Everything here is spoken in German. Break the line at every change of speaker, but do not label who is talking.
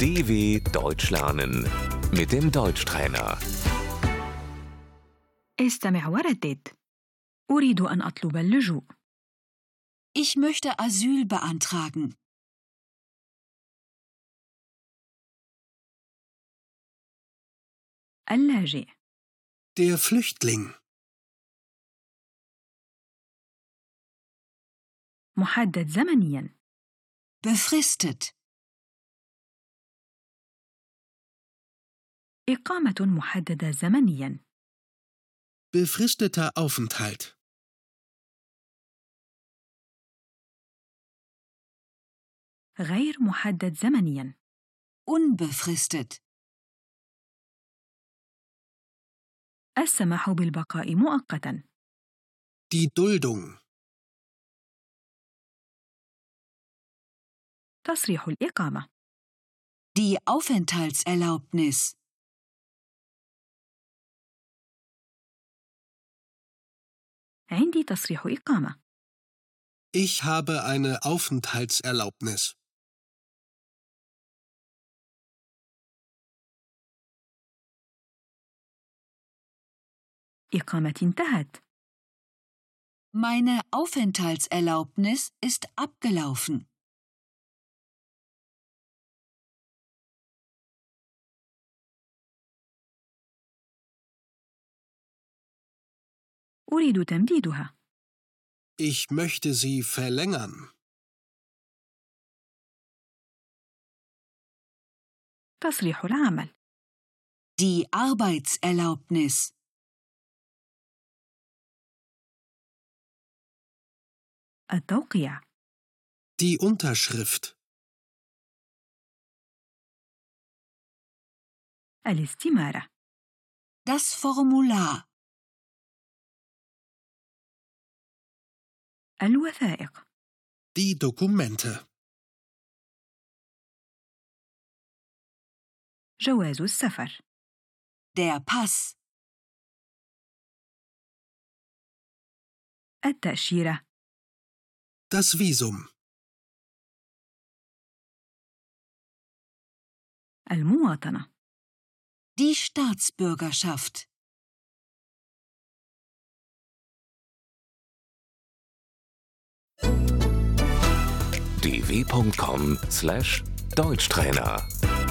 DW Deutsch lernen mit dem Deutschtrainer.
استمع وردد أريد أن أطلب اللجوء
Ich möchte Asyl beantragen.
اللاجئ
Der Flüchtling.
محدد زمنيا
Befristet.
إقامة محددة زمنيا
Befristeter Aufenthalt.
غير محدد زمنيا
Unbefristet.
السماح بالبقاء مؤقتا
Die Duldung.
تصريح الإقامة
Die Aufenthaltserlaubnis.
عندي تصريح إقامة
Ich habe eine Aufenthaltserlaubnis.
إقامتي انتهت
Meine Aufenthaltserlaubnis ist abgelaufen.
أريد تمديدها
Ich möchte sie verlängern.
تصريح العمل
Die Arbeitserlaubnis.
التوقيع
Die Unterschrift.
الاستمارة
Das Formular.
الوثائق
Die Dokumente.
جواز السفر
Der Pass.
التأشيرة
Das Visum.
المواطنة
Die Staatsbürgerschaft.
dw.com/deutschtrainer